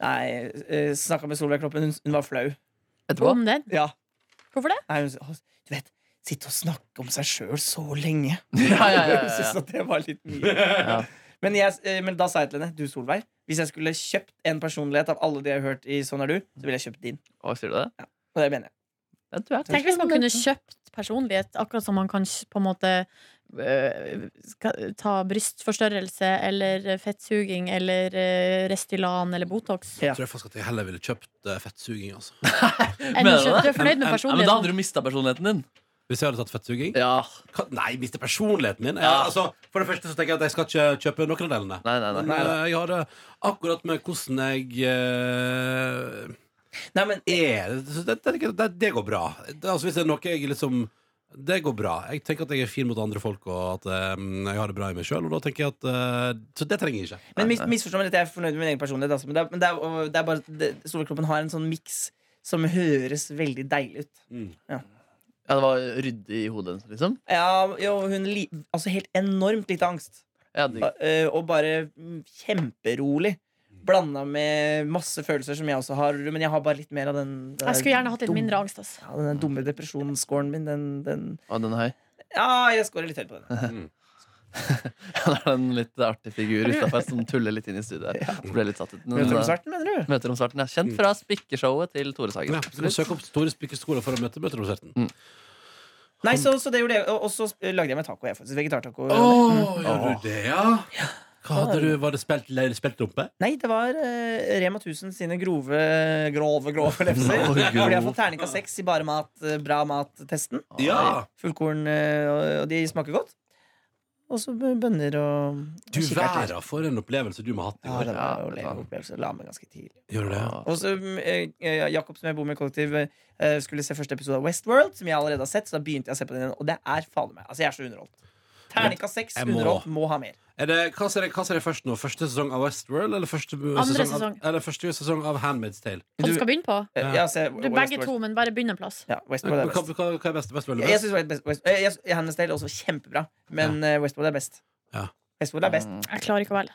Speaker 5: Nei, eh, snakka med Solveig Kloppen. Hun, hun var flau.
Speaker 3: Etterpå?
Speaker 4: Om den?
Speaker 5: Ja.
Speaker 4: Hvorfor det?
Speaker 5: Nei, hun, å, du vet, sitte og snakke om seg sjøl så lenge.
Speaker 3: Ja, ja, ja,
Speaker 5: Hun
Speaker 3: ja,
Speaker 5: syntes at det var litt mye.
Speaker 3: ja.
Speaker 5: Men, jeg, eh, men da sa jeg til henne, du Solveig, hvis jeg skulle kjøpt en personlighet av alle de jeg har hørt i Sånn er du, så ville jeg kjøpt din.
Speaker 3: Hva sier du det?
Speaker 5: Og det mener jeg.
Speaker 3: Ja, du er
Speaker 4: Tenk hvis man kunne kjøpt personlighet, akkurat som man kan s- på en måte øh, skal- ta brystforstørrelse eller øh, fettsuging eller øh, Restylan eller Botox.
Speaker 5: Ja.
Speaker 2: Jeg tror jeg faktisk at jeg heller ville kjøpt eh, fettsuging. altså
Speaker 4: Enn å
Speaker 3: Mener du
Speaker 4: kjøpe-
Speaker 3: det?
Speaker 4: Du er fornøyd med
Speaker 3: Ja, men da
Speaker 4: personligheten?
Speaker 3: hadde du mista personligheten din.
Speaker 2: Hvis jeg hadde tatt fettsuging?
Speaker 3: Ja.
Speaker 2: Ka- Nei, hvis det er personligheten min.
Speaker 3: Ja.
Speaker 2: Ja, altså, for det første så tenker jeg at jeg skal ikke kjøpe noen av delene.
Speaker 3: Nei, nei, nei.
Speaker 2: Men eh, jeg har det akkurat med hvordan jeg eh,
Speaker 5: Nei, men
Speaker 2: er Så det, det, det, det går bra. Det, altså, hvis det er noe jeg liksom Det går bra. Jeg tenker at jeg er fin mot andre folk, og at eh, jeg har det bra i meg sjøl. eh, Så det trenger jeg ikke.
Speaker 5: Men mis,
Speaker 3: Nei, nei.
Speaker 5: misforstå meg litt, jeg er fornøyd med min egen personlighet. Altså. Men det er, men det er, og det er bare det, Solkroppen har en sånn miks som høres veldig deilig ut.
Speaker 3: Ja, det var ryddig i hodet hennes, liksom?
Speaker 5: Ja, jo, hun li, altså helt enormt lite angst.
Speaker 3: Ja, digg.
Speaker 5: Eh, Og bare mm, kjemperolig. Blanda med masse følelser som jeg også har, men jeg har bare litt mer av den den
Speaker 4: Jeg skulle gjerne hatt litt
Speaker 5: dumme-
Speaker 4: mindre angst. Altså.
Speaker 5: Ja, den dumme depresjonsscoren min, den, den
Speaker 3: Og den er høy.
Speaker 5: Ja, jeg scorer litt høyt på den.
Speaker 3: Ja, det er en litt artig figur utafor som tuller litt inn i studiet. her. Så Ble jeg litt satt ut. Men,
Speaker 5: Møter
Speaker 3: eh,
Speaker 5: om svarten, mener du?
Speaker 3: Møter om svarten, ja. Kjent fra Spikkeshowet til Tore Sagen.
Speaker 2: Ja, så søk opp Store Spikkerskoler for å møte møteromsretten.
Speaker 5: Nei, så, så det gjorde jeg. Og og så lagde jeg meg taco, jeg, faktisk. Vegetartaco.
Speaker 2: gjorde du det, ja? Hva hadde du, var det spilt, eller spilt rumpe?
Speaker 5: Nei, det var eh, Rema 1000 sine grove, grove, grove lefser.
Speaker 3: Grove.
Speaker 5: Hvor de har fått terningkast seks i bare mat, eh, bra mat-testen.
Speaker 2: Ja!
Speaker 5: Fullkorn, eh, og- og de smaker godt. Og så bønner og og
Speaker 2: Du
Speaker 5: kikerter.
Speaker 2: verda for en opplevelse du må ha hatt i
Speaker 5: Ja,
Speaker 2: går.
Speaker 5: det var jo
Speaker 3: Ja, det
Speaker 5: en
Speaker 3: var-
Speaker 5: opplevelse. La meg ganske tidlig.
Speaker 2: Gjorde du det?
Speaker 5: Og så mm, eh, eh, Jakob, som jeg bor med i kollektiv, eh, skulle se første episode av Westworld, som jeg allerede har sett, så da begynte jeg å se på den igjen, og det er fader meg. Altså, jeg er så underholdt. Terningkast seks,
Speaker 2: Jeg må-
Speaker 5: underholdt, må ha mer.
Speaker 2: Er det, hva, ser jeg, hva ser jeg først nå? Første sesong av Westworld? Eller første sesong,
Speaker 4: sesong.
Speaker 2: Av, eller første sesong av Handmaid's Tale?
Speaker 4: Som skal begynne på?
Speaker 5: Eh,
Speaker 2: Ja.
Speaker 5: ja, se
Speaker 4: Du, begge
Speaker 5: Westworld.
Speaker 4: to, men bare begynn en plass.
Speaker 5: Ja,
Speaker 2: Hva,
Speaker 5: Westworld er
Speaker 2: hva,
Speaker 5: best.
Speaker 2: hva er best? Westworld er
Speaker 5: Jeg
Speaker 2: best?
Speaker 5: synes West- West- eh, jeg- jeg- Handmaid's Tale er også kjempebra, men eh, Westworld er best.
Speaker 2: Ja. Mm.
Speaker 5: Westworld er best.
Speaker 4: Jeg klarer ikke å velge.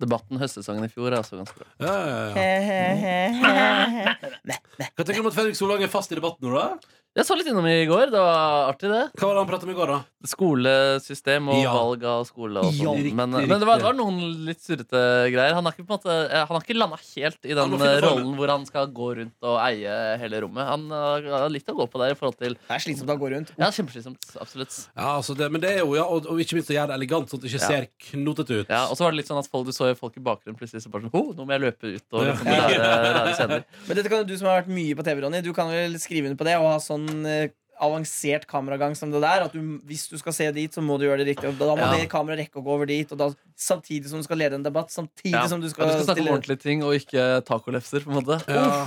Speaker 3: Debatten høstsesongen i fjor er også ganske bra.
Speaker 2: Ja,
Speaker 5: Eh,
Speaker 2: ja, ja.
Speaker 5: Nei, nei.
Speaker 2: Hva tenker du om at Fredrik Solang er fast i debatten nå, da?
Speaker 3: Jeg så litt innom i går. Det var artig, det.
Speaker 2: Hva var det han pratet om i går, da?
Speaker 3: Skolesystem og
Speaker 2: Ja.
Speaker 3: valg av skole og
Speaker 2: Ja,
Speaker 3: sånn.
Speaker 2: riktig,
Speaker 3: men
Speaker 2: riktig.
Speaker 3: men det, var, det var noen litt surrete greier. Han har ikke, på en måte, eh, han har ikke landa helt i
Speaker 2: Han
Speaker 3: den
Speaker 2: må finne
Speaker 3: eh,
Speaker 2: formen.
Speaker 3: rollen hvor han skal gå rundt og eie hele rommet. Han eh, har likt å gå på der i forhold til
Speaker 5: Det er slitsomt å gå rundt.
Speaker 3: Ja, kjempeslitsomt. Absolutt.
Speaker 2: Ja, altså det, men det er jo, ja, og, og ikke minst å gjøre det elegant, sånn at det ikke
Speaker 3: Ja.
Speaker 2: ser knotete ut.
Speaker 3: Ja, og så var det litt sånn at folk, du så jo folk i bakgrunnen plutselig så bare sånn oh, nå må jeg løpe ut og
Speaker 2: Ja.
Speaker 3: liksom, rære, rære scener.
Speaker 5: Men dette kan jo du som har vært mye på TV, Ronny, du kan vel skrive under på det og ha sånn eh, avansert kameragang som det der. At du, hvis du skal se dit, så må du gjøre det riktig. Og da må
Speaker 3: Ja.
Speaker 5: det kameraet rekke å gå over dit. Og da, samtidig som du skal lede en debatt. Samtidig
Speaker 3: Ja.
Speaker 5: som du
Speaker 3: Ja,
Speaker 5: skal,
Speaker 3: du skal snakke om
Speaker 5: stille-
Speaker 3: ordentlige ting og ikke tacolefser. på en måte
Speaker 2: Ja.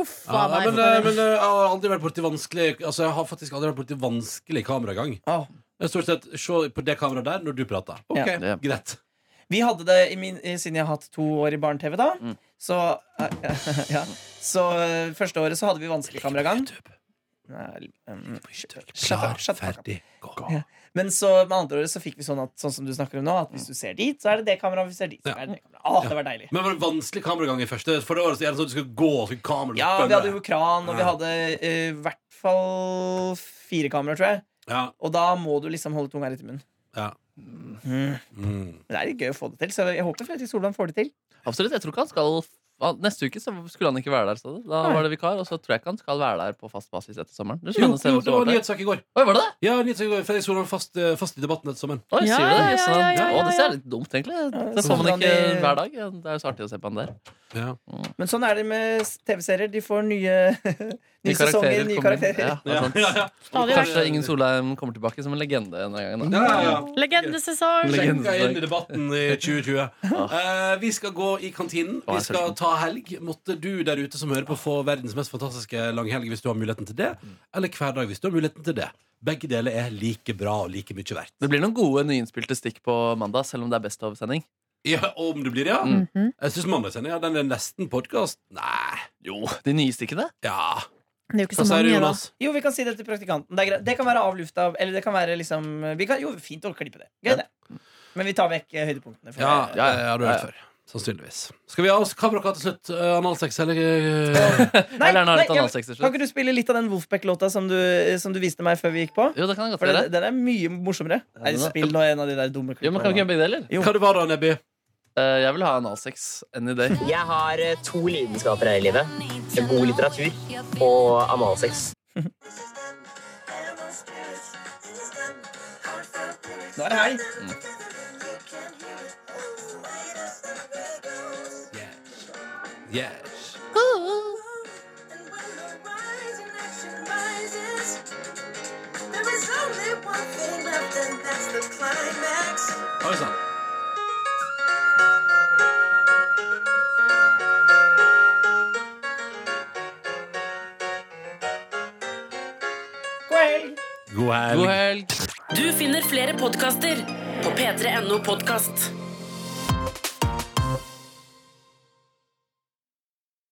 Speaker 4: Uff
Speaker 2: Ja,
Speaker 4: a
Speaker 2: nei, men,
Speaker 4: meg.
Speaker 2: eh, men eh, jeg har aldri vært borti vanskelig Altså, jeg har faktisk aldri vært borti vanskelig kameragang.
Speaker 5: Åh.
Speaker 2: Det er Stort sett se på det kameraet der når du prater. Ok,
Speaker 3: Ja.
Speaker 2: greit.
Speaker 5: Vi hadde det i min, i- siden jeg har hatt to år i barne-TV, da.
Speaker 3: Mm.
Speaker 5: Så, ja. så eh, første året så hadde vi vanskelig kameragang. Nei, um, Slapp
Speaker 2: Klar,
Speaker 5: av, slapp av.
Speaker 2: ferdig, gå.
Speaker 5: Ja. Men så med andre året så fikk vi sånn at Sånn som du snakker om nå,
Speaker 3: Mm.
Speaker 5: at hvis du ser dit, så er det det kameraet. Hvis du ser dit, så
Speaker 2: Ja.
Speaker 5: er det det kameraet. Å, det var deilig.
Speaker 2: Men var det vanskelig kameragang i første? For det var det sånn at du skulle gå og så kamera
Speaker 5: Ja, vi hadde jo kran, og vi
Speaker 2: Ja.
Speaker 5: hadde eh, i hvert fall fire kameraer, tror jeg.
Speaker 2: ja,
Speaker 5: Og da må du liksom holde tunga rett i munnen.
Speaker 2: ja.
Speaker 5: Mm.
Speaker 2: Mm.
Speaker 5: Men det er litt gøy å få det til, så jeg håper Fredrik Solvang får det til.
Speaker 3: Absolutt, jeg tror ikke han skal han- Neste uke så skulle han ikke være der. sa du. Da var det vikar, og så tror jeg ikke han skal være der på fast basis etter sommeren. Det er
Speaker 2: Jo,
Speaker 3: spennende å se
Speaker 2: jo,
Speaker 3: hvor
Speaker 2: det var
Speaker 3: det går.
Speaker 2: nyhetssak i går.
Speaker 3: Oi, var det det?
Speaker 2: Ja, nyhetssak i går Fredrik Solvang fast, eh, fast i debatten etter sommeren.
Speaker 3: Oi,
Speaker 4: Ja,
Speaker 3: sier du det?
Speaker 4: ja,
Speaker 3: Jøss, han-
Speaker 4: ja, ja,
Speaker 3: Å, det ser
Speaker 4: ja.
Speaker 3: litt dumt, egentlig.
Speaker 5: Ja,
Speaker 3: Det så man
Speaker 5: sånn
Speaker 3: ikke
Speaker 5: han i-
Speaker 3: hver dag. Det er jo så artig å se på han der.
Speaker 2: Ja.
Speaker 5: Men sånn er det med s- TV-serier. De får nye, nye sesonger, nye
Speaker 3: kommer inn.
Speaker 5: karakterer.
Speaker 3: Ja, det er sant.
Speaker 4: Stadig
Speaker 3: Kanskje Ingen Solheim kommer tilbake som en legende en gang. Da.
Speaker 2: Ja, ja, ja.
Speaker 4: Legendesesong.
Speaker 3: Legende.
Speaker 2: Sjekka inn i debatten i 2020. Eh, vi skal gå i kantinen.
Speaker 3: Å,
Speaker 2: Vi
Speaker 3: jeg er
Speaker 2: skal
Speaker 3: sulten.
Speaker 2: ta helg. Måtte du der ute som hører på, få verdens mest fantastiske langhelg hvis du har muligheten til det. Eller hver dag hvis du har muligheten til det. Begge deler er like bra og like mye verdt.
Speaker 3: Det blir noen gode nyinnspilte stikk på mandag, selv om det er Best of-sending.
Speaker 2: Ja, om det blir det, ja.
Speaker 3: Mm.
Speaker 4: Mhm.
Speaker 2: Jeg syns mandagssendinga den er nesten podkast. Nei.
Speaker 3: Jo, de nye stikkene.
Speaker 2: Ja.
Speaker 4: Det er jo ikke
Speaker 2: Hva
Speaker 4: så
Speaker 2: sier du,
Speaker 4: mange, da.
Speaker 2: Jonas?
Speaker 5: Jo, vi kan si det til praktikanten. Det, er greit. det kan være avlufta, eller det kan være liksom vi kan, Jo, fint å klippe det. Gøy, det. Men vi tar vekk eh, høydepunktene. for
Speaker 2: Ja,
Speaker 5: det-
Speaker 2: ja, ja, du har hørt før. Sannsynligvis. Skal vi ha oss kamerakar til slutt? Eh, Analsex, eller eh,
Speaker 5: Nei,
Speaker 3: Eller han har
Speaker 5: nei,
Speaker 3: litt
Speaker 5: jeg-
Speaker 3: analsex til
Speaker 5: Kan
Speaker 3: slutt.
Speaker 5: ikke du spille litt av den Wolfpack-låta som, du- som du viste meg før vi gikk på?
Speaker 3: Jo, det kan jeg godt
Speaker 5: For
Speaker 3: gjøre.
Speaker 5: den, den er mye morsommere. Nei,
Speaker 3: den er-
Speaker 5: spill nå en av de der dumme
Speaker 3: Jo, men kan vi ikke gjøre
Speaker 5: klippene.
Speaker 3: begge deler?
Speaker 5: Jo.
Speaker 2: Hva det var da, Nebby?
Speaker 3: Eh, Jeg vil ha analsex any day.
Speaker 1: Jeg har eh, to lidenskaper her i livet. God litteratur og analsex.
Speaker 5: Nå er det helg.
Speaker 2: Yes. Yes. Oi sann.
Speaker 5: God helg.
Speaker 2: God helg.
Speaker 3: God helg.
Speaker 6: Du finner flere podkaster på p3.no podkast.